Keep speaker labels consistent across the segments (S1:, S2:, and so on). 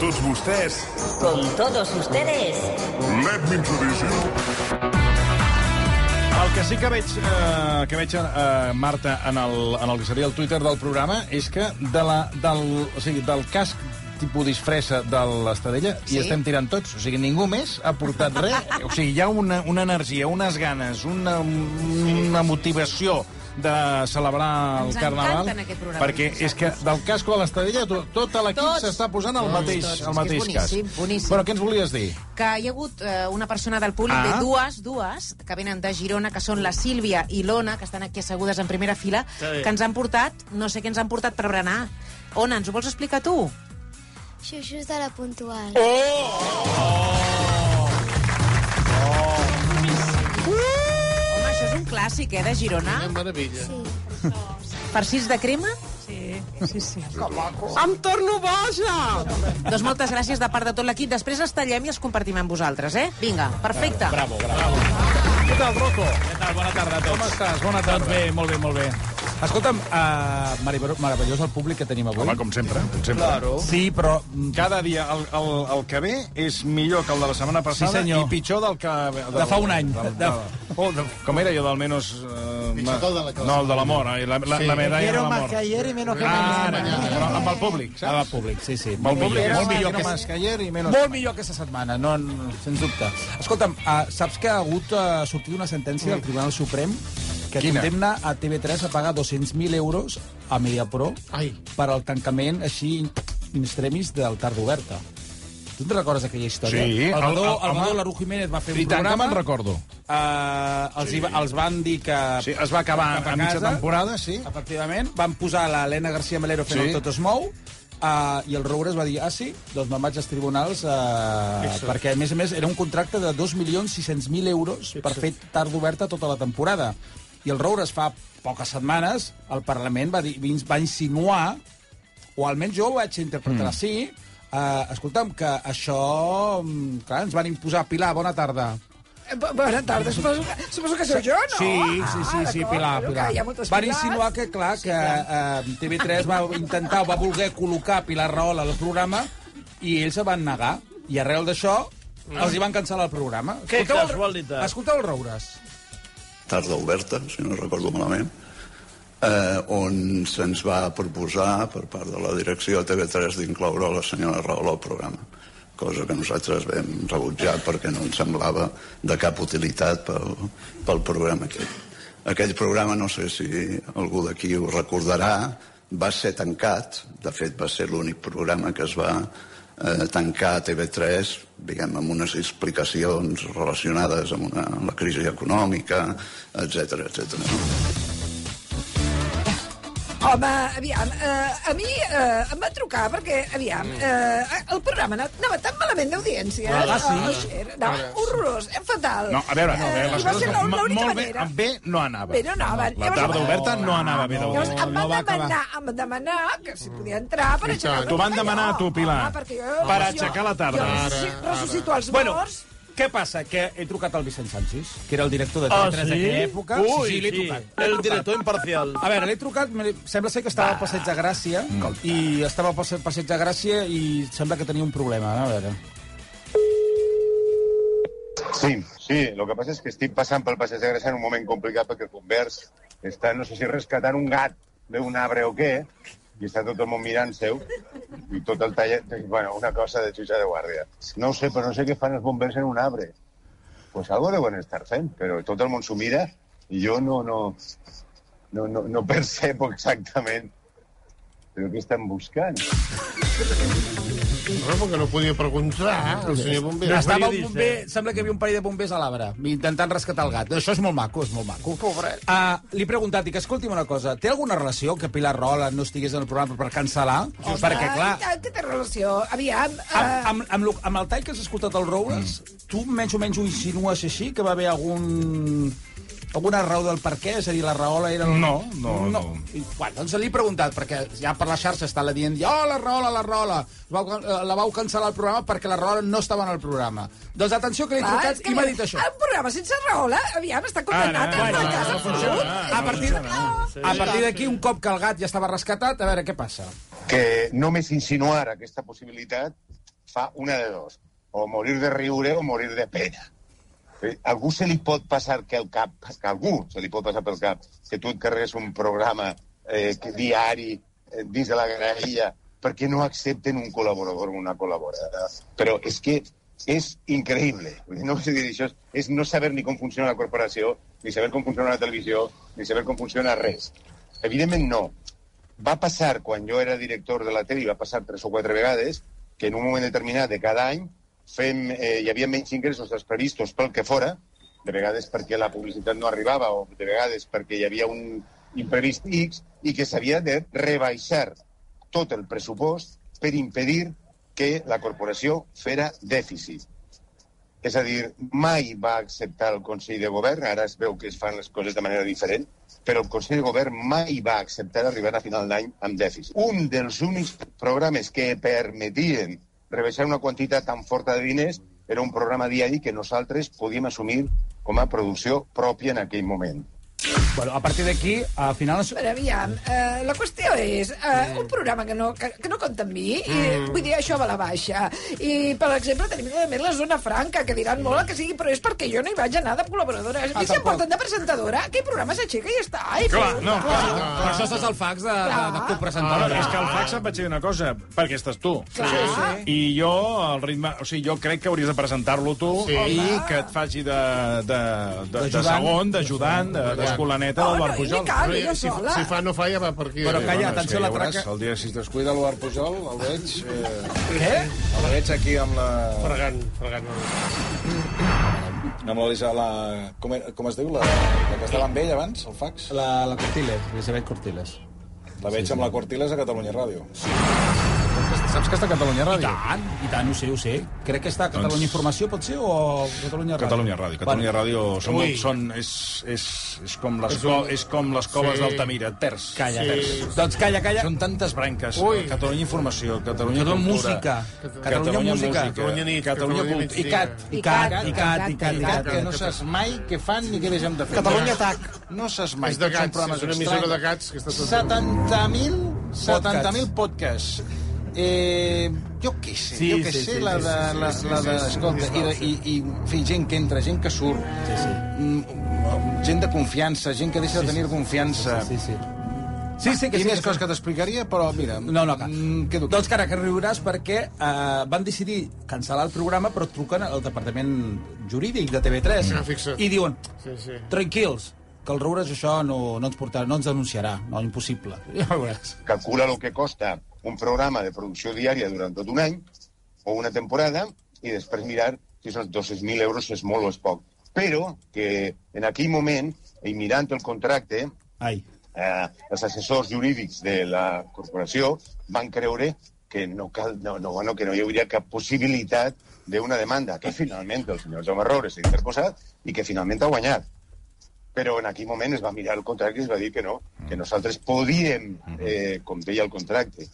S1: tots vostès,
S2: Con todos ustedes,
S1: let me introduce you.
S3: El que sí que veig, eh, que veig eh, Marta, en el, en el que seria el Twitter del programa, és que de la, del, o sigui, del casc tipus disfressa de l'Estadella sí. hi estem tirant tots. O sigui, ningú més ha portat res. O sigui, hi ha una, una energia, unes ganes, una, una motivació de celebrar
S4: Ens
S3: el carnaval.
S4: encanten aquest programa,
S3: perquè és que del casco a l'Estadella to, tot l'equip
S4: Tots.
S3: s'està posant el mateix,
S4: tots. És que
S3: el
S4: és
S3: mateix cas.
S4: boníssim, boníssim.
S3: Però què ens volies dir?
S4: que hi ha hagut eh, una persona del públic
S3: Ah.
S4: ah. de dues, dues, que venen de Girona, que són la Sílvia i l'Ona, que estan aquí assegudes en primera fila, que ens han portat, no sé què ens han portat per berenar. Ona, ens ho vols explicar tu?
S5: Xuxus de la puntual.
S3: Oh!
S2: Eh.
S4: Home, això és un clàssic, eh, de Girona.
S6: Una meravella. Sí.
S4: Farcits de crema?
S7: Em torno boja!
S4: Doncs moltes gràcies de part de tot l'equip. Després els tallem i els compartim amb vosaltres, eh? Vinga, perfecte. Bravo,
S3: Què tal, Rocco?
S8: Què tal? Bona tarda a
S3: Com
S8: tots.
S3: estàs? Bona
S8: Doncs
S3: tarda.
S8: bé, molt bé, molt bé. Escolta'm, uh, meravellós el públic que tenim avui.
S3: Home, com sempre, com sempre. Claro.
S8: Sí, però... mm,
S3: Cada dia el, el, el que ve és millor que el de la setmana passada
S8: senyor.
S3: i pitjor del que... Del,
S8: De fa un any.
S3: Del, del,
S8: De-
S3: oh, de, com era jo del menys... Eh,
S6: Pitjor que el de la que
S3: no, el de l'amor, eh? la, la, sí. la medalla Ah, de l'amor.
S8: ayer y menos
S3: Ara, però amb el públic, saps?
S8: Ara, públic, sí, sí.
S3: Amb el públic era
S8: molt millor
S3: quiero
S8: que...
S3: más que ayer i menos...
S8: Molt millor aquesta setmana, no, no, sens dubte. Escolta'm, uh, saps que ha hagut uh, sortit una sentència del Tribunal Suprem que
S3: Quina?
S8: condemna a TV3 a pagar 200.000 euros a Mediapro
S6: Ai.
S8: per al tancament així in extremis del Tarda Oberta. Tu te'n recordes d'aquella història?
S3: Sí, el-
S8: Alvador,
S3: el-
S8: el, Alvador
S3: home.
S8: Laru Jiménez va fer un
S3: I tant que
S8: programa...
S3: me'n recordo.
S8: Eh, els, sí. els van dir que...
S3: Sí, es va acabar
S8: cap
S3: a mitja
S8: casa.
S3: temporada, sí.
S8: Efectivament, van posar l'Helena García Melero fent
S3: Sí.
S8: sí. el Tot es mou, Uh, i el Roures va dir, ah, sí? Doncs me'n vaig als tribunals uh, perquè, a més a més, era un contracte de 2.600.000 euros per fer tard oberta tota la temporada. I el Roures fa poques setmanes al Parlament va, dir, va insinuar o almenys jo ho vaig interpretar mm. així, uh, escolta'm, que això... mm, Clar, ens van imposar. Pilar, bona tarda.
S7: Eh, Bona tarda, suposo, suposo que sóc jo, no? Ah,
S8: Sí, sí, sí, sí,
S7: d'acord,
S8: Pilar,
S7: bueno,
S8: Pilar.
S7: que hi ha moltes
S8: Van
S7: Pilars.
S8: insinuar que, clar, que eh, TV3 va intentar, va voler col·locar Pilar Rahola al programa i ells se van negar. I arrel d'això els hi van cancel·lar el programa.
S7: Que
S8: Escolteu el-
S7: casualitat.
S8: Escolteu el Roures.
S9: tarda oberta, si no recordo malament, eh, on se'ns va proposar per part de la direcció de TV3 d'incloure la senyora Rahola al programa cosa que nosaltres vam rebutjar perquè no ens semblava de cap utilitat pel, pel programa aquest. Aquell programa, no sé si algú d'aquí ho recordarà, va ser tancat, de fet va ser l'únic programa que es va eh, tancar a TV3, diguem, amb unes explicacions relacionades amb, una, amb la crisi econòmica, etc etc. No?
S7: Home, aviam, eh, a mi eh, em va trucar perquè, aviam,
S3: Mm.
S7: eh, el programa anava- anava tan malament d'audiència.
S8: Ah, sí?
S7: eh, el share, no, horrorós, eh, fatal.
S3: No, a veure, no, a veure,
S7: Eh,
S3: les
S7: i va ser
S3: coses...
S7: l'ú-
S3: mo-
S7: l'única
S3: Molt bé,
S7: manera.
S3: bé no anava.
S7: Bé, no anaven.
S3: La
S7: Llavors-
S3: tarda oberta no anava bé
S7: Llavors
S3: d'audiència.
S7: em van demanar, em van demanar que si podia entrar per aixecar...
S6: tant.
S7: una
S3: T'ho van
S7: mica
S3: demanar
S7: allò.
S3: a tu, Pilar.
S7: Home, perquè jo-
S3: Per
S7: jo-
S3: aixecar la tarda.
S7: jo
S3: Ara,
S7: ressusc- Ressuscito els
S8: Bueno,
S7: morts.
S8: què passa? Que he trucat al Vicent Sanchis, que era el director de
S3: Ah,
S8: TV3 d'aquella època.
S7: Ui,
S8: sí, sí, l'he trucat.
S7: El director imparcial.
S8: A veure, l'he trucat, me- sembla ser que estava al Passeig de Gràcia, i estava al Passe- Passeig de Gràcia i sembla que tenia un problema. A veure...
S10: Sí, sí, el que passa és que estic passant pel passeig de Gràcia en un moment complicat perquè el convers està, no sé si rescatant un gat d'un arbre o què, i està tot el món mirant seu, i tot el tallet... Bueno, una cosa de xuxa de guàrdia. No ho sé, però no sé què fan els bombers en un arbre. Pues algo deuen estar fent, però tot el món s'ho mira i jo no, no, no, no, no percebo exactament però què estan buscant.
S6: No, perquè no podia
S11: Ah,
S6: preguntar, eh, el senyor Bomber. eh?
S8: Estava un bomber, sembla que hi havia un parell de bombers a l'arbre, intentant rescatar el gat. Això és molt maco, és molt maco. Pobret. Uh, li he preguntat, dic, escolti'm una cosa, té alguna relació que Pilar Rola no estigués en el programa per cancel·lar? Home, Perquè, clar,
S7: Ai, tant, que té relació. Aviam... eh,
S8: amb, amb, amb, lo- amb el tall que has escoltat al Roures, mm. tu menys o menys ho insinues així, que va haver algun alguna raó del per què? És a dir, la raola era...
S3: No, no, no.
S8: I, bueno, doncs li he preguntat, perquè ja per la xarxa està la dient, oh, la raola, la raola, vau, eh, la vau cancel·lar el programa perquè la raola no estava en el programa. Doncs atenció que l'he
S7: Clar, Ah, és
S8: trucat
S7: que
S8: i m'ha dit això.
S7: El programa sense raola, aviam, està eh?" condemnat
S3: Ara,
S7: a
S3: bueno,
S7: fracassar.
S6: Ah,
S3: no funciona,
S7: absolut.
S3: ara,
S8: A partir,
S7: Ah,
S8: a partir d'aquí, un cop que el gat ja estava rescatat, a veure què passa.
S10: que només insinuar aquesta possibilitat fa una de dos. O morir de riure o morir de pena. Eh, Algú se li pot passar que el cap, que algú se li pot passar pel cap, que tu et carregues un programa eh, que, diari eh, dins de la graella perquè no accepten un col·laborador o una col·laboradora. Però és que és increïble. Vull dir, No sé dir això, és, és no saber ni com funciona la corporació, ni saber com funciona la televisió, ni saber com funciona res. Evidentment no. Va passar, quan jo era director de la tele, i va passar tres o quatre vegades, que en un moment determinat de cada any fem, eh, hi havia menys ingressos dels previstos pel que fora, de vegades perquè la publicitat no arribava o de vegades perquè hi havia un imprevist X i que s'havia de rebaixar tot el pressupost per impedir que la corporació fera dèficit. És a dir, mai va acceptar el Consell de Govern, ara es veu que es fan les coses de manera diferent, però el Consell de Govern mai va acceptar arribar a final d'any amb dèficit. Un dels únics programes que permetien rebaixar una quantitat tan forta de diners era un programa diari que nosaltres podíem assumir com a producció pròpia en aquell moment.
S8: Bueno, a partir d'aquí, al final...
S7: Però aviam, eh, la qüestió és eh, un programa que no, que, que no compta amb mi, i,
S3: Mm.
S7: vull dir, això va a la baixa. I, per exemple, tenim també la zona franca, que diran molt el que sigui, però és perquè jo no hi vaig anar de col·laboradora. I si em
S12: tampoc.
S7: porten de presentadora, aquell programa s'aixeca i ja està. Ai,
S3: Ah, Clar,
S7: puta.
S3: no, clar, no,
S7: Ah.
S12: Per això estàs al fax de, de, de
S3: Ah. Ara,
S12: copresentadora.
S3: és que el fax em vaig dir una cosa, perquè estàs tu.
S7: Clar. Sí,
S3: I jo, el ritme... O sigui, jo crec que hauries de presentar-lo tu sí. i que et faci de, de, de, de
S8: D'ajudant.
S3: segon, d'ajudant, de- d'escolaneta
S7: Oh,
S3: del
S7: no,
S3: Bar
S7: i
S3: Pujol.
S7: ni cal, jo
S6: si,
S7: sola.
S6: si fa no fa, ja va per aquí.
S8: Però calla,
S3: Bueno, és que
S8: atenció a
S3: ja
S8: la
S3: veuràs,
S8: traca.
S3: El dia que si es descuida l'Obar Pujol, el veig... Eh,
S8: Què?
S3: el veig aquí amb la...
S6: Fregant, fregant.
S3: Amb l'Elisa, la... Com, era- com es diu? La, la que estava amb ell abans, el fax?
S8: La, la Cortiles, Elisabet Cortiles.
S3: La veig amb la Cortiles a Catalunya Ràdio.
S8: Saps que està a Catalunya Ràdio? I tant, i tant, ho sé, ho sé. Crec que està a Catalunya
S3: Doncs-
S8: Informació, pot ser, o Catalunya Ràdio?
S3: Catalunya Ràdio. Catalunya Ràdio són,
S6: Ui.
S3: molt, són, és, és, és, com les, co, és com les coves
S6: Sí.
S3: d'Altamira, terç.
S8: Calla,
S3: terç.
S8: sí. Doncs calla, calla.
S3: Són tantes branques.
S6: Ui.
S3: Catalunya Informació, Catalunya
S8: Catalunya
S3: Cultura...
S8: Música. Catalunya Música.
S3: Catalunya
S6: Catalunya Nit,
S3: Catalunya
S6: Catalunya
S3: Cultura... I
S6: Migdia.
S3: CAT.
S8: I cat, i cat, i cat, i
S3: Cat,
S8: cat.
S3: que no saps mai què fan ni què deixem de fer.
S8: Catalunya Atac.
S3: No saps mai.
S6: És de
S3: Tots són
S6: gats,
S3: programes
S6: és una emissora
S3: estranys.
S6: de gats que està tot-
S3: 70.000 70.000 podcasts. Eh, jo què sé,
S8: Sí,
S3: jo què
S8: sí,
S3: sé,
S8: sí,
S3: la
S8: sí,
S3: de...
S8: sí,
S3: la, la de escolta, i, de- i, i, en fi, gent que entra, gent que surt,
S8: Sí, sí.
S3: mm, gent de confiança, gent que deixa de tenir confiança.
S8: Sí, sí. Sí, sí, que
S3: I
S8: sí.
S3: més
S8: que sí.
S3: coses que t'explicaria, però mira...
S8: No, no, cal.
S3: mm, Quedo
S8: Doncs, cara, que riuràs perquè eh, van decidir cancel·lar el programa, però truquen al departament jurídic de TV3
S6: Ah, fixa't.
S8: i diuen,
S6: Sí, sí.
S8: tranquils, que el roures això no, no ens portarà, no ens denunciarà, no, impossible. Ja veuràs.
S10: calcula el que costa un programa de producció diària durant tot un any o una temporada i després mirar si són 200.000 euros és molt o és poc. Però que en aquell moment, i mirant el contracte,
S8: Ai.
S10: eh, els assessors jurídics de la corporació van creure que no, cal, no, no, bueno, que no hi hauria cap possibilitat d'una demanda, que finalment el senyor Jaume Roures s'ha interposat i que finalment ha guanyat. Però en aquell moment es va mirar el contracte i es va dir que no, que nosaltres podíem, eh, com deia el contracte,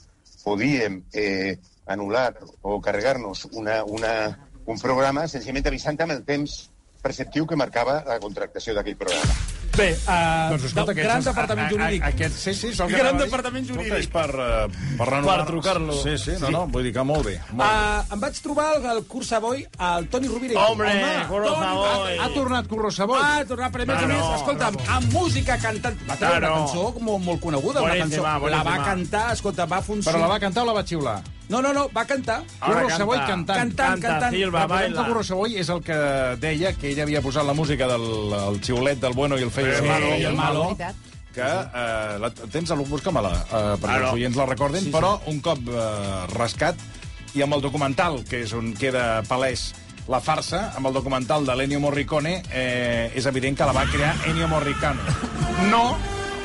S10: podíem eh, anul·lar o carregar-nos una, una, un programa senzillament avisant amb el temps preceptiu que marcava la contractació d'aquell programa.
S8: Bé, eh, doncs,
S3: escolta, aquests
S8: gran
S3: són-
S8: departament
S3: a- a-
S8: jurídic.
S3: a- Aquest, sí, sí, és el que
S8: Gran
S3: anava a dir.
S8: departament
S3: Escolta,
S8: jurídic.
S3: És per, eh, per renovar...
S12: Per trucar-lo.
S3: Sí, sí, no, no, vull dir que molt bé. Molt bé.
S8: Uh, em vaig trobar al, al curs Savoy al Toni Rovira. i tu.
S12: Hombre, Curro
S8: Toni,
S12: Savoy.
S8: Ha, ha tornat Curro Savoy. Ah, Ha tornat, però a més a més, escolta'm, amb música cantant. Va treure una
S12: Claro.
S8: cançó molt, molt coneguda, una
S12: Boníssima,
S8: cançó. La va
S12: boníssima.
S8: cantar, escolta, va funcionar.
S3: Però la va cantar o la va xiular?
S8: No, no, no, va cantar.
S12: Ah, va
S3: Curro
S12: cantar.
S3: Savoy cantant.
S8: Cantant,
S12: Canta,
S8: cantant.
S12: Silva,
S8: Recordem
S3: Recordem
S12: baila.
S3: que Curro Savoy és el que deia que ella havia posat la música del el xiulet del bueno i el feo.
S12: Sí,
S3: del malo.
S12: i el
S8: malo.
S4: Veritat.
S3: que eh, la, tens a busca-me-la, eh, perquè
S12: Ara.
S3: els oients la recorden, sí, però un cop eh, rescat i amb el documental, que és on queda palès la farsa, amb el documental de l'Ennio Morricone, eh, és evident que la va crear Ennio Morricone. No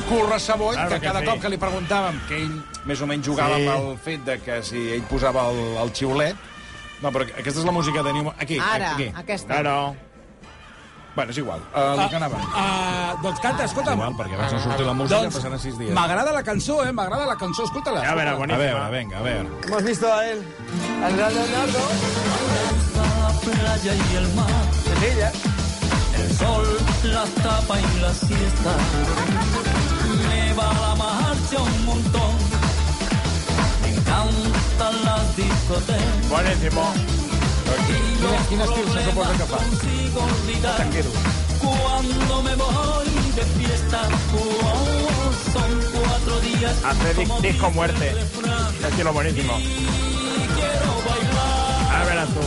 S3: Curro Savoy,
S12: Claro
S3: que
S12: que
S3: cada
S12: sí.
S3: cop que li preguntàvem que ell més o menys jugava
S12: Sí.
S3: sí. amb el fet de que si ell posava el, el xiulet... No, però aquesta és la música d'Ennio... Mo- Aquí,
S4: Ara,
S3: aquí.
S4: aquesta.
S12: Claro.
S3: Bueno, és igual, eh, el que anava.
S8: Ah, doncs canta, escolta'm.
S3: Igual, perquè abans no sortia la música,
S8: Doncs,
S3: passaran sis dies.
S8: m'agrada la cançó, eh? M'agrada la cançó, escolta-la.
S12: A veure,
S3: A
S12: boníssima.
S3: veure, venga, a veure.
S13: Hemos visto a él, al gran Leonardo. playa y el mar. El sol, las tapas y la siesta. Me va la marcha un montón. Me encantan las discotecas.
S3: Buenísimo. Quin, quin estil se suposa que fa? Tanguero.
S13: Cuando me voy de fiesta, oh, son cuatro días.
S14: Hace di- disco muerte. Un Estilo buenísimo. A ver tú.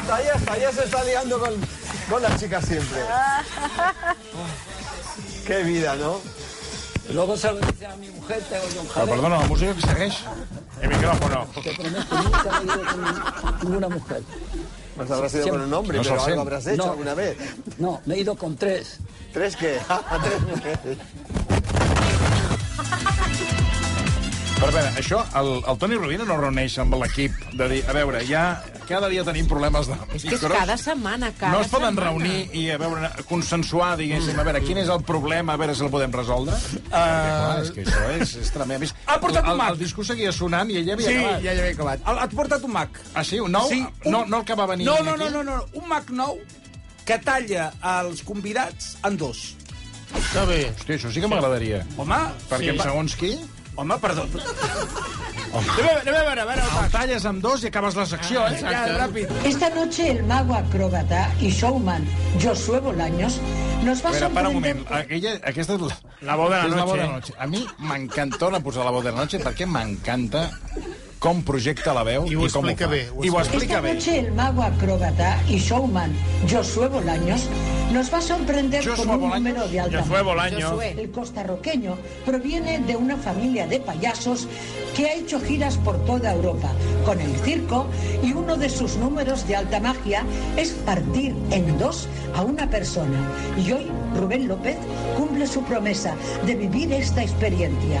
S11: Hasta allá, hasta allá se está liando con, con las chicas siempre.
S7: Ah.
S11: Qué vida, ¿no? Luego se lo dice a mi mujer, te oye un
S3: Però,
S11: jaleo.
S3: perdona, la música que segueix? El micròfono.
S11: Te prometo, nunca he ido con ninguna mujer.
S3: Pues habrás ido con un hombre, No se pero algo siente. habrás hecho alguna
S11: vez. No, me he ido con tres. ¿Tres qué? tres mujeres.
S3: Però a veure, això, el, el Toni Rovira no reuneix amb l'equip de dir, a veure, ja cada dia tenim problemes de micros.
S4: És que és cada setmana, cada
S3: no es poden
S4: setmana.
S3: reunir i a veure, consensuar, diguéssim, a veure quin és el problema, a veure si el podem resoldre. Uh... Clar, és que això és, és tremend. A més,
S8: Ha portat un
S3: el,
S8: Mac.
S3: el discurs seguia sonant i ella havia
S8: Sí,
S3: acabat.
S8: ja
S14: havia acabat.
S8: El, et portat un Mac.
S3: Ah, sí? Un nou?
S8: Sí, un-
S3: No, no el que va venir
S8: No,
S3: aquí?
S8: no, no, no, no, un Mac nou que talla els convidats en dos.
S3: Està bé. Hòstia, això sí que m'agradaria.
S8: Home,
S3: Perquè
S8: sí.
S3: segons qui...
S8: Home, perdó.
S3: Anem a, anem a veure, a veure. El talles amb dos i acabes la secció, eh? Ja, ràpid.
S15: Esta noche el mago acróbata y showman Josué Bolaños nos va
S3: A
S15: a
S3: veure, para un moment.
S15: sorprender...
S3: Aquella, aquesta és la,
S14: La boda de la
S3: és
S14: noche.
S3: boda de la noche. A mi m'encantó la posar la boda de la noche perquè m'encanta com projecta la veu i,
S6: ho
S3: com ho
S6: explica
S3: fa.
S6: bé, ho
S3: I ho
S15: Esta
S3: explica bé.
S15: noche el mago acróbata y showman Josué Bolaños nos va a sorprender
S3: Josué
S15: con un
S3: Bolaños.
S15: número de alta.
S14: Josué Bolaños. Josué.
S15: El costarroqueño proviene de una familia de payasos que ha hecho giras por toda Europa con el circo y uno de sus números de alta magia es partir en dos a una persona. Y hoy Rubén López cumple su promesa de vivir esta experiencia.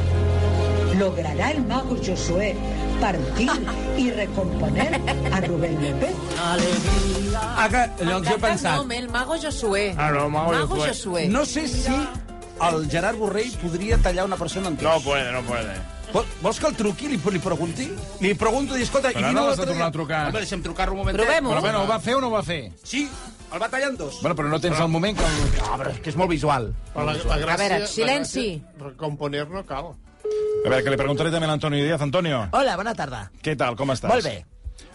S15: ¿Logrará el mago Josué partir y recomponer a Rubén López?
S8: Ah, que, llavors jo he pensat...
S4: nom, eh? el Mago Josué.
S8: Ah, no, Mago
S4: Mago
S8: Josué.
S4: Josué.
S8: No sé si el Gerard Borrell podria tallar una persona en dos.
S14: No puede, no puede.
S8: Vol- Vols que el truqui, li, li pregunti? Li pregunto, i escolta...
S3: Però
S8: i
S3: ara
S8: vine
S3: l'has de
S8: l'altre
S3: tornar a
S8: dia.
S3: trucar.
S8: Home, deixa'm trucar-lo un momentet.
S3: Però bueno, ho va fer o no ho va fer?
S8: Sí, el va tallar en dos.
S3: Bueno, però no tens el moment que... El...
S14: Ah, però és que és molt visual.
S6: Però la, la gràcia,
S4: A veure,
S6: la
S4: silenci.
S6: gràcia- Recomponer no cal.
S3: A veure, que li preguntaré també a l'Antonio Díaz. Antonio,
S16: Hola, bona tarda.
S3: què tal, com estàs?
S16: Molt bé.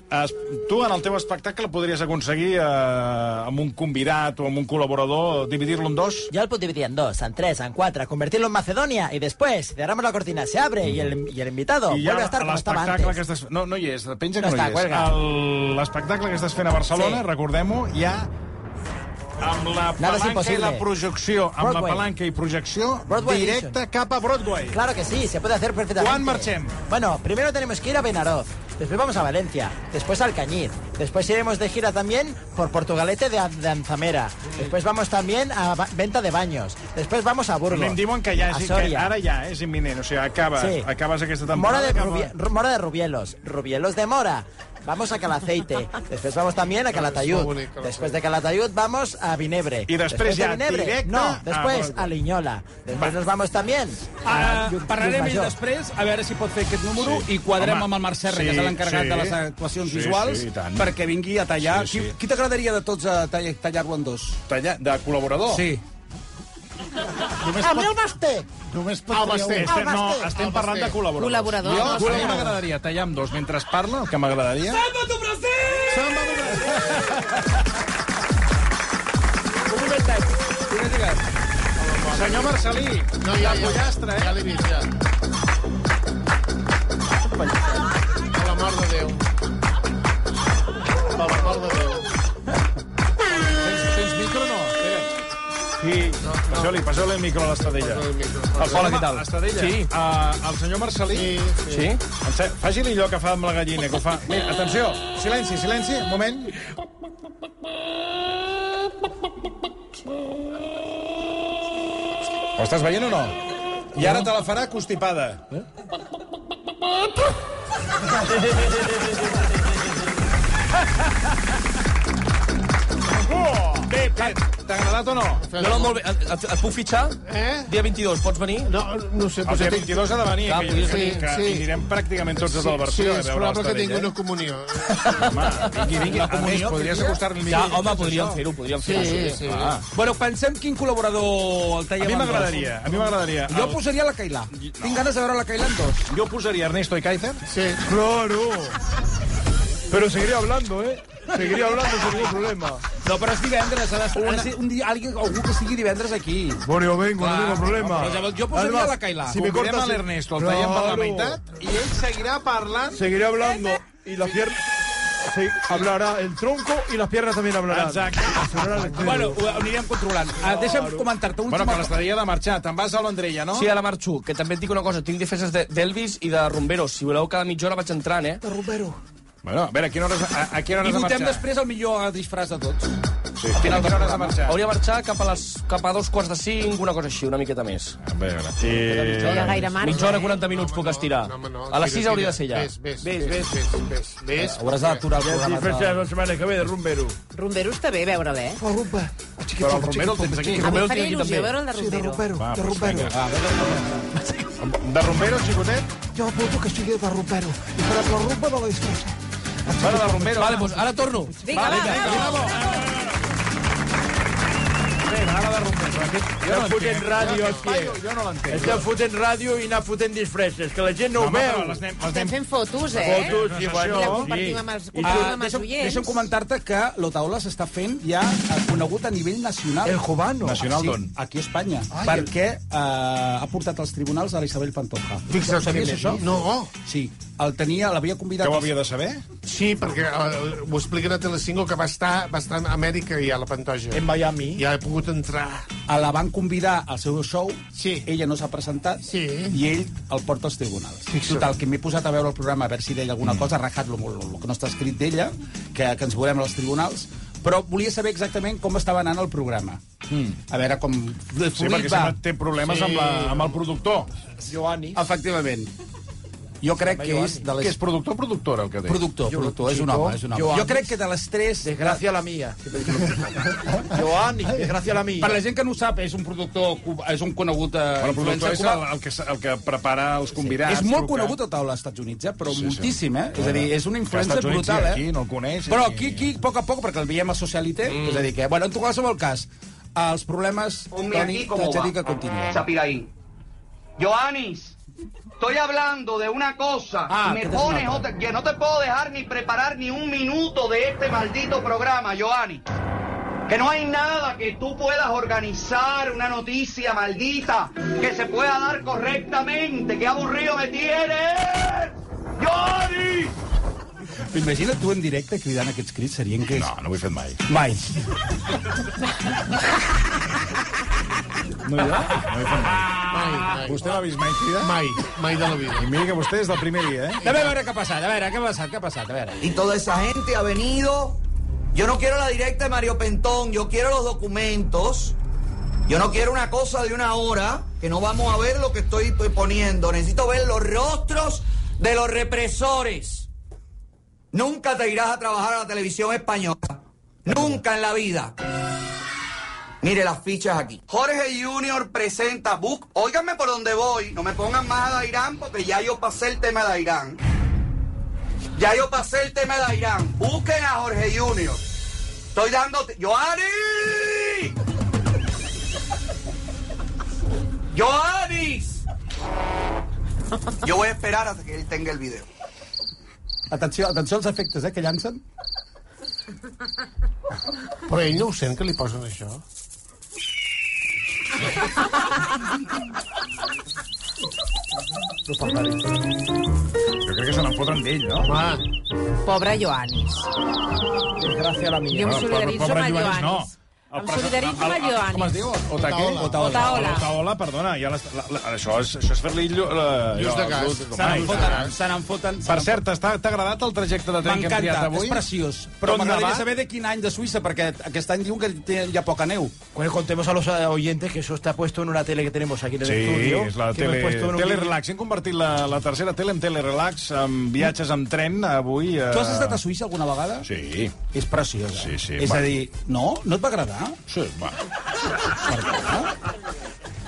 S3: Es, tu, en el teu espectacle, podries aconseguir eh, amb un convidat o amb un col·laborador dividir-lo en dos?
S16: Yo lo puedo dividir en dos, en tres, en cuatro, convertirlo en Macedonia y después cerramos la cortina, se abre y el, y el invitado
S3: I
S16: vuelve a estar como estaba
S3: l'espectacle
S16: antes.
S3: que estàs... No, no hi és, penja
S16: No
S3: que no,
S16: està,
S3: hi és.
S16: cuelga.
S3: El- L'espectacle que estàs fent a Barcelona,
S16: Sí.
S3: recordem-ho, ja amb la
S16: Nada es
S3: palanca i
S16: imposible.
S3: la projecció, amb
S16: Broadway.
S3: la palanca i projecció,
S16: Broadway
S3: directa
S16: Edition.
S3: cap a Broadway.
S16: Claro que sí, se puede hacer perfectamente.
S3: Juan Marchem.
S16: Bueno, primero tenemos que ir a Benaroz, después vamos a Valencia, después a Alcañiz, después iremos de gira también por Portugalete de, de Anzamera, después vamos también a Ba- Venta de Baños, después vamos a Burgos,
S3: Em diuen que ja
S16: a
S3: és, que
S16: Soria.
S3: ara ja és imminent, o sigui, acabes,
S16: Sí.
S3: acabes aquesta
S16: Mora
S3: temporada...
S16: de,
S3: acaba-
S16: Rubie- Ru- Mora de Rubielos, Rubielos de Mora. Vamos a Calaceite, después vamos también a
S3: Ah, es
S16: Calatayud,
S3: muy bonito,
S16: después de Calatayud vamos a Vinebre.
S3: I després
S16: de
S3: ja directe Ah,
S16: No,
S3: a
S16: después
S3: Volta.
S16: a Linyola, después nos vamos también a
S8: Ah,
S16: Lluc-
S8: parlarem
S16: Llucmajor.
S8: ell després, a veure si pot fer aquest número sí. i quadrem
S16: Home,
S8: Home, amb el Marc Serra,
S16: sí,
S8: sí, que és l'encarregat
S16: sí.
S8: sí. de les actuacions
S16: Sí,
S8: visuals,
S16: sí, i tant.
S8: perquè vingui a tallar.
S16: Sí, sí.
S8: Sí, sí. Qui, qui t'agradaria de tots a tall- tallar-ho en dos?
S3: Tallar, de col·laborador?
S8: Sí.
S16: A mi el Basté.
S3: Només
S16: pot triar un.
S3: Estem,
S16: El
S3: no,
S16: eh, Basté.
S3: estem
S16: El
S3: parlant de
S16: Basté.
S3: col·laboradors.
S16: Col·laboradors.
S3: Jo,
S16: Col·laboradors.
S3: a mi m'agradaria tallar amb dos mentre es parla, el que m'agradaria...
S13: ¡Salva tu Brasil!
S3: ¡Samba
S13: tu
S8: Un momentet. Digues, digues.
S3: Senyor Marcelí,
S6: no hi ha pollastre, eh? Ja l'he vist, ja. Per la mort de Déu. Per la mort de Déu.
S3: Tens, tens micro o no? Sí, no, no. passeu-li passeu el micro a l'Estadella.
S6: Hola, què tal?
S3: L'Estadella,
S6: Sí.
S3: uh, el senyor Marcelí... Sí,
S6: sí.
S3: sí? Faci-li allò que fa amb la gallina, que ho fa... Mira, atenció, silenci, silenci, un moment. Ho estàs veient o no? I ara te la farà constipada. Eh?
S14: Bé, bé,
S3: T'ha agradat o no?
S17: No, no, molt bé. Et, et, et puc fitxar? Eh? Dia 22, pots venir?
S6: No, no sé.
S3: El dia 22 ha de venir,
S17: Clar,
S3: que,
S17: podries
S3: que,
S17: venir.
S3: que
S17: Ah, pues, Sí.
S3: hi anirem pràcticament tots
S17: Sí,
S3: des del
S17: sí,
S3: Barció
S17: és
S3: a veure
S17: probable que
S11: ¿eh?
S17: tingui
S3: eh?
S6: una comunió.
S3: Vingui, vingui. A més, podries acostar-li
S17: Ja,
S3: el nivell.
S17: home, podríem fer-ho, podríem
S3: Sí,
S17: fer-ho.
S3: sí.
S17: Ah. Bueno, pensem quin col·laborador el
S3: A
S17: talla
S3: mi
S17: abans.
S3: m'agradaria, a mi m'agradaria.
S17: Jo
S3: El-
S17: posaria la Cailà.
S8: Tinc ganes de veure la Kailan 2.
S3: Yo pusaría Ernesto y Kaiser.
S6: Sí.
S3: Claro.
S11: Pero seguiré hablando, ¿eh? Seguiré hablando sin ningún problema.
S17: No, però és divendres. Ha de ser, ha de ser un dia, alguien, algú que sigui divendres aquí.
S11: Bueno, yo vengo, no tengo problema.
S17: Però llavors, jo posaria
S11: Además,
S17: la Cailà.
S11: si me cortas el- Claro.
S3: i ell seguirà parlant...
S11: Seguiré hablando y las piernas... hablará el tronco y las piernas también hablarán.
S3: Exacte.
S11: Ah,
S17: Bueno, ho anirem controlant. Ah, deixa'm comentar-te un
S3: Bueno, que l'estaria de marxar. Te'n vas a l'Andrella, no?
S17: Sí, ara marxo, que també et dic una cosa, tinc defenses de- d'Elvis i de Rumberos. Si voleu, cada mitja hora vaig entrant, eh?
S8: De Romero.
S3: Bueno, a veure, a quina hora, has- a, a quina hora
S17: I
S3: has de
S17: votem
S3: marxar?
S17: després el millor disfraç de tots.
S3: Sí. A quina hora has de marxar?
S17: Hauria de marxar cap a, les, cap a dos quarts de cinc, una cosa així, una miqueta més.
S3: A veure...
S4: No hi ha gaire marge.
S17: Mitja hora, 40 minuts puc estirar. A les 6 hauria de ser ja.
S6: Ves, ves, ves, ves, ves, ves, ves.
S3: Eh,
S17: Hauràs d'aturar el programa.
S14: Festes la setmana que ve de Rumbero.
S4: Rumbero està bé veure'l, eh?
S11: Oh, rumba.
S3: Però el Romero el tens aquí.
S4: A mi em faria il·lusió veure el de
S11: Sí, de
S4: Rumbero.
S11: Rumpero,
S3: Va,
S11: de
S3: doncs
S11: Rumpero.
S3: vinga. De Romero, xicotet?
S11: Yo apunto que sigue de Rumpero. Y para que la rumba no la disfrace.
S3: Bueno, de Romero.
S17: Vale, doncs ara torno.
S4: Vinga, va, bravo!
S14: Estem fotent ràdio aquí.
S3: Jo no l'entenc.
S14: Estem fotent ràdio i anar fotent disfresses, que la gent no ho veu.
S3: Les anem, les
S4: Estem
S3: anem...
S4: fent fotos, eh?
S14: Fotos, sí,
S4: I la
S14: bueno.
S4: compartim amb els,
S14: I
S4: compartim
S14: tu-
S4: amb els
S8: Ah, Deixa'm,
S4: oients.
S8: deixa'm comentar-te que l'Otaola s'està fent ja eh, conegut a nivell nacional.
S11: El Jovano.
S3: Nacional d'on?
S8: Aquí a Espanya.
S11: Ai,
S8: perquè eh, ha portat als tribunals a la Isabel Pantoja.
S6: Fixa't,
S8: sabies això?
S6: No.
S8: Sí, el tenia, l'havia convidat...
S3: Que ho havia de saber?
S6: Sí, perquè eh, ho expliquen a Telecinco que va estar, va estar a Amèrica i a la Pantoja.
S14: En Miami.
S6: Ja he pogut entrar.
S8: A la van convidar al seu show,
S6: sí.
S8: ella no s'ha presentat,
S6: sí.
S8: i ell el porta als tribunals.
S6: Fixa't. Mm.
S8: Total, que m'he posat a veure el programa a veure si deia alguna cosa, rajat-lo molt, el que no està escrit d'ella, que, que ens veurem als tribunals, però volia saber exactament com estava anant el programa. A veure com...
S3: Sí, perquè sempre té problemes
S8: Sí.
S3: amb, la, amb el productor.
S14: Joanis.
S8: Efectivament. Jo crec que és de
S3: Que
S8: les...
S3: és productor o productora, el que té?
S8: Productor, productor, és un home, és un home. Jo crec que de les tres...
S14: Desgracia la mía. Joanis, desgracia la mía.
S8: Per la gent que no ho sap, és un productor, cu- és un conegut... Eh,
S3: Bueno, el
S8: influencer
S3: productor és
S8: cubà.
S3: el, el, que, el que prepara els
S8: és
S3: convidats.
S8: molt
S3: truca.
S8: conegut a taula als Estats Units, eh? però
S3: Sí, sí.
S8: moltíssim, eh? És a
S3: Clar.
S8: dir, és una
S3: Que als
S8: influència
S3: Estats Units
S8: brutal,
S3: i
S8: eh?
S3: aquí no el coneix, Mm.
S8: Però
S3: i-
S8: aquí, aquí, a poc a poc, perquè el veiem a Socialité, és a dir, que... Bueno, en tot qualsevol cas, els problemes, Toni, t'haig de dir que continuen.
S18: Sapiraí. Joanis, estoy hablando de una cosa.
S8: Ah,
S18: me
S8: que te
S18: pones
S8: mata.
S18: otra- que no te puedo dejar ni preparar ni un minuto de este maldito programa, Joanis. Que no hay nada que tú puedas organizar, una noticia maldita, que se pueda dar correctamente. ¡Qué aburrido me tienes! ¡Joanis!
S8: Imagina't tu en directe cridant aquests crits, serien que...
S3: No, no ho he fet mai.
S8: Mai.
S3: No, jo? No ho he fet mai.
S6: Mai, mai.
S3: Vostè l'ha vist mai cridar?
S6: Mai, mai de la vida.
S3: I mira que vostè és del primer dia, eh?
S14: A veure què ha passat, a veure què ha passat, què ha passat, a veure.
S18: Y toda esa gente ha venido. Yo no quiero la directa de Mario Pentón, yo quiero los documentos. Yo no quiero una cosa de una hora, que no vamos a ver lo que estoy estoy poniendo. Necesito ver los rostros de los represores. Nunca te irás a trabajar a la televisión española. Nunca en la vida. Mire las fichas aquí. Jorge Junior presenta Book. Óiganme por dónde voy. No me pongan más a Dairán porque ya yo pasé el tema de Dairán. Ya yo pasé el tema de Irán. Busquen a Jorge Junior. Estoy dando. ¡Joanis! ¡Joanis! Yo voy a esperar hasta que él tenga el video.
S8: Atenció, atenció als efectes, eh, que llancen.
S6: Però ell no ho sent, que li posen això?
S3: Jo crec que se n'en foten d'ell, no?
S6: Home,
S4: Pobre Joanis.
S14: Desgracia la mía.
S4: Jo em
S3: Pobre-
S4: solidaritzo
S3: Ah, pobre
S4: amb el
S3: Ioannis,
S4: Joanis.
S3: El
S4: Em
S3: presen-
S4: solidaritzo amb el
S3: el- el- Com es
S4: Ioannis.
S3: diu? Otaque?
S6: Otaola.
S4: Otaola.
S3: Otaola, perdona. Ja l'est- la, la, això és, això és eh, fer-li... llu- la-
S6: Lluç de gas.
S3: lluç-
S8: Se n'en
S3: Ai,
S8: foten, se n'en foten. se
S3: Per
S8: n'en
S3: cert, t'està- t'ha agradat el trajecte de tren que hem triat
S8: M'encanta,
S3: avui? Doncs
S8: és preciós.
S3: Però
S8: Però
S3: m'agradaria
S8: m'agradaria
S3: saber
S8: saber de quin any de Suïssa, perquè aquest any diuen que té- hi ha poca neu.
S14: Bueno, contemos a los eh, oyentes que eso está puesto en una tele que tenemos aquí en el
S3: Sí,
S14: estudio.
S3: és la
S14: que hemos
S3: tele,
S14: puesto en un-
S3: Telerelax. Hem convertit la, la tercera tele en Telerelax, amb viatges amb tren avui. Eh...
S8: Tu has estat a Suïssa alguna vegada?
S3: Sí.
S8: És preciosa.
S3: Sí, sí,
S8: És
S3: va.
S8: a dir, no? No et va agradar? Perdona?
S3: Sí, va.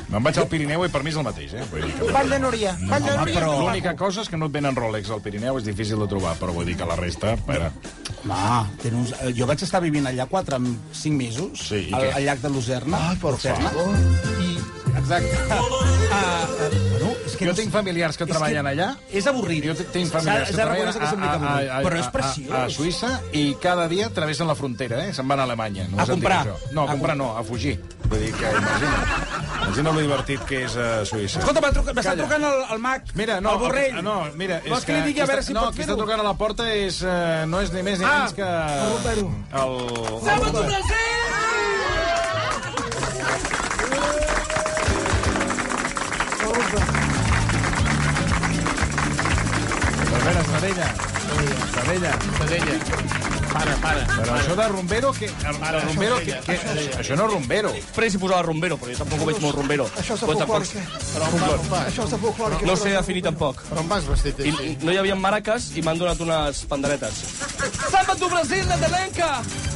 S3: Me'n vaig al Pirineu i per mi és el mateix, eh? Vull dir que...
S16: Vall de Núria. Vall de
S3: Home,
S16: Núria.
S3: però l'única cosa és que no et venen Rolex al Pirineu, és difícil de trobar, però vull dir que la resta... Espera.
S8: Ma, tenen uns... eh, jo vaig estar vivint allà 4 5 mesos,
S3: Sí, i
S8: al,
S3: què?
S8: al llac de Lucerna. Ai,
S3: por favor.
S8: I, exacte. Ah, eh, bueno, és que
S3: Jo
S8: no sé-
S3: tinc familiars que
S8: és
S3: treballen allà.
S8: És avorrit.
S3: Jo tinc familiars que treballen a, a, a, a,
S8: Però és
S3: a, a
S8: preciós.
S3: Suïssa i cada dia travessen la frontera, eh? Se'n van a Alemanya. No
S8: A
S3: us han dit
S8: comprar.
S3: això. No, a,
S8: A
S3: comprar no, a fugir. Vull dir que imagina. Imagina lo divertit que és a Suïssa.
S8: Escolta, m'ha trucat- m'està
S3: Calla.
S8: trucant el, el Mac,
S3: Mira, no,
S8: el Borrell.
S3: ah, No, mira, és
S8: Vols que li digui a
S3: qui
S8: veure
S3: està-
S8: si
S3: no,
S8: pot
S3: qui
S8: fer-ho?
S3: està tocant a la porta és, eh, no és ni més ni
S8: Ah,
S3: menys que...
S8: el Roberto.
S3: El...
S13: ¡Vamos, tu Brasil!
S3: Cervera, Cervella. Cervella. Cervella. Para, para. Però això de rumbero, que... Para, rumbero, que, que, això no és rumbero.
S17: Després hi posava rumbero, però jo tampoc ho veig molt rumbero.
S3: Això és de
S17: Però tampoc-
S3: folclore.
S17: Però un folclore.
S11: Això és de folclore.
S17: No sé definir tampoc.
S6: Però on vas vestit
S17: I, i no hi havia maraques i m'han donat unes panderetes. Samba tu Brasil, Natalenca!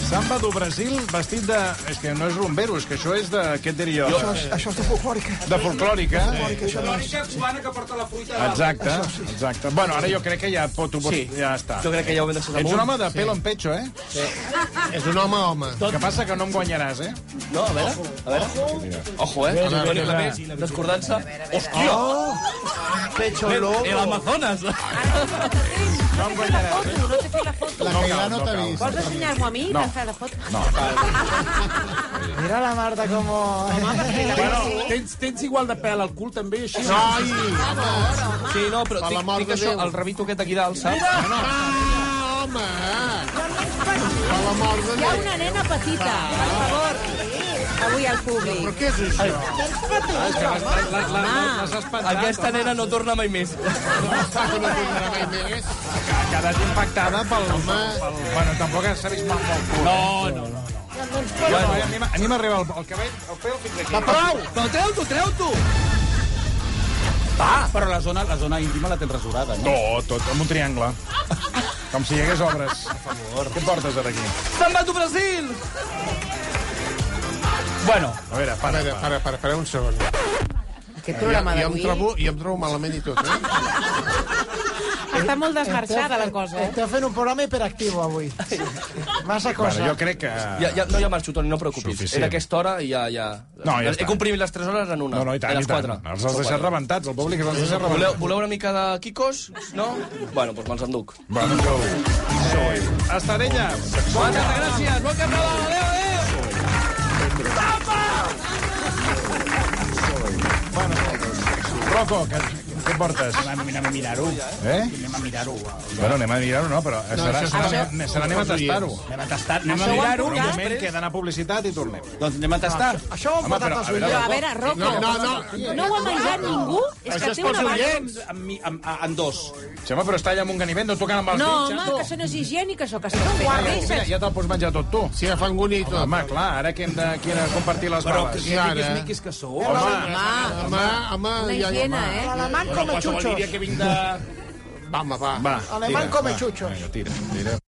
S3: Samba do Brasil vestit de... És que no és rumbero, és que això és de... Què et diria jo?
S11: Això, és, això és de folclòrica.
S3: De folclòrica.
S11: Folclòrica, això no és...
S8: cubana que porta la fruita
S3: Exacte, exacte. Bueno, ara jo crec que ja pot, ho pots,
S17: Sí.
S3: ja està.
S17: Jo crec que ja ho hem deixat
S3: Ets
S17: amunt.
S3: un home de
S17: Sí.
S3: pelo en pecho, eh?
S6: És un home, home.
S3: El que passa que no em guanyaràs, eh?
S17: No, a veure, a veure. Ojo, eh?
S3: A veure,
S17: Toni
S3: a veure.
S17: Clapés, descordança. Hòstia!
S11: Pecho
S17: El-
S11: loco.
S17: El Amazonas.
S3: No em guanyaràs, eh?
S4: No t'he fet la foto.
S3: La
S4: No
S3: Cailà
S4: cal,
S3: no t'ha
S4: cal.
S3: vist.
S4: Vols ensenyar-m'ho a mi?
S3: No.
S4: No. Fer la foto?
S3: No.
S16: Mira la Marta como...
S8: Tens, tens igual de pèl al cul, també, així?
S6: Noi!
S17: Sí, no, però
S6: Per la
S17: tinc,
S6: mort
S17: tinc
S6: de
S17: això,
S6: Déu.
S17: el rabito aquest aquí dalt, saps?
S6: No, Ah, home! Per la mort de Ah.
S4: Hi ha
S6: Déu.
S4: una nena petita, per favor. Avui al públic. Però
S6: què és això?
S17: Aquesta nena no torna mai més.
S3: Ha quedat impactada pel... pel bueno, tampoc s'ha vist mal pel cul. No, no, no. Bueno, a mi m'ha- a mi m'arriba el, el cabell, el pèl fins aquí.
S8: Va, prou!
S17: Però treu-t'ho, treu-t'ho!
S8: Va, Ah, però la zona, la zona íntima la tens rasurada, no?
S3: No, tot amb un triangle. Com si hi hagués obres. A favor. Què portes ara aquí?
S17: Samba tu Brasil!
S3: Bueno. A veure,
S6: A
S3: para,
S6: veure, para, para, para un segon.
S4: Aquest programa
S6: jo, jo em
S4: d'avui
S6: trobo, jo em trobo malament i tot, eh?
S4: està molt desmarxada, la cosa. eh?
S16: Esteu fent un programa hiperactiu avui. Massa cosa.
S3: Bueno, jo crec que...
S17: Ja, ja, no, ja marxo, Toni, no preocupis.
S3: Suficient.
S17: Era aquesta hora i ja... ja...
S3: No,
S17: He
S3: ja està.
S17: comprimit les 3 hores en una.
S3: No, no, i tant,
S17: de
S3: i
S17: les
S3: tant.
S17: 4.
S3: Els has deixat rebentats, el públic els has deixat
S17: Voleu,
S3: rebentats.
S17: voleu una mica de quicos? No? Bueno, doncs me'ls enduc.
S3: Bueno, prou. Eh, Estarella.
S17: Moltes gràcies, bon català, adeu, adeu!
S3: Rocco, què, què portes?
S8: Anem a mirar-ho.
S3: Eh?
S8: Anem a mirar-ho.
S3: Bueno, anem a mirar-ho, no, però no, serà,
S8: això
S3: serà,
S8: serà-
S3: serà, serà, anem a tastar-ho.
S8: Anem a tastar, anem a
S3: Això ho han
S8: mirar-ho.
S3: posat? Un moment que he d'anar a publicitat i tornem.
S8: Doncs anem a tastar.
S16: Això ho han
S3: Home,
S16: portat
S3: però,
S16: els
S3: a veure,
S4: Però, a
S16: ullets.
S4: veure, Rocco,
S3: No, no,
S8: no.
S4: no ho ha menjat ningú? És que té una barra...
S8: En, en, en dos.
S3: Sí, home, però està allà amb un ganivet, no tocant amb els
S4: No, home,
S3: dits.
S4: que això no és higiènic, això, que se't
S3: Ja, ja,
S4: guardis.
S3: ja, ja te'l pots menjar tot tu.
S6: Si agafant un i tot.
S3: Home, clar, ara que hem de, que hem de compartir les
S8: Però que
S3: bales.
S8: sí,
S6: ara.
S8: miquis, miquis que sou.
S3: Home,
S6: Home, home,
S4: La
S6: ja,
S4: higiene,
S6: home.
S4: eh?
S16: Alemán come
S8: qualsevol
S16: chuchos.
S8: diria que vinc de...
S6: Va, home, va.
S3: va,
S16: Alemán
S3: tira,
S16: come
S3: va.
S16: chuchos.
S3: Vinga, tira, tira.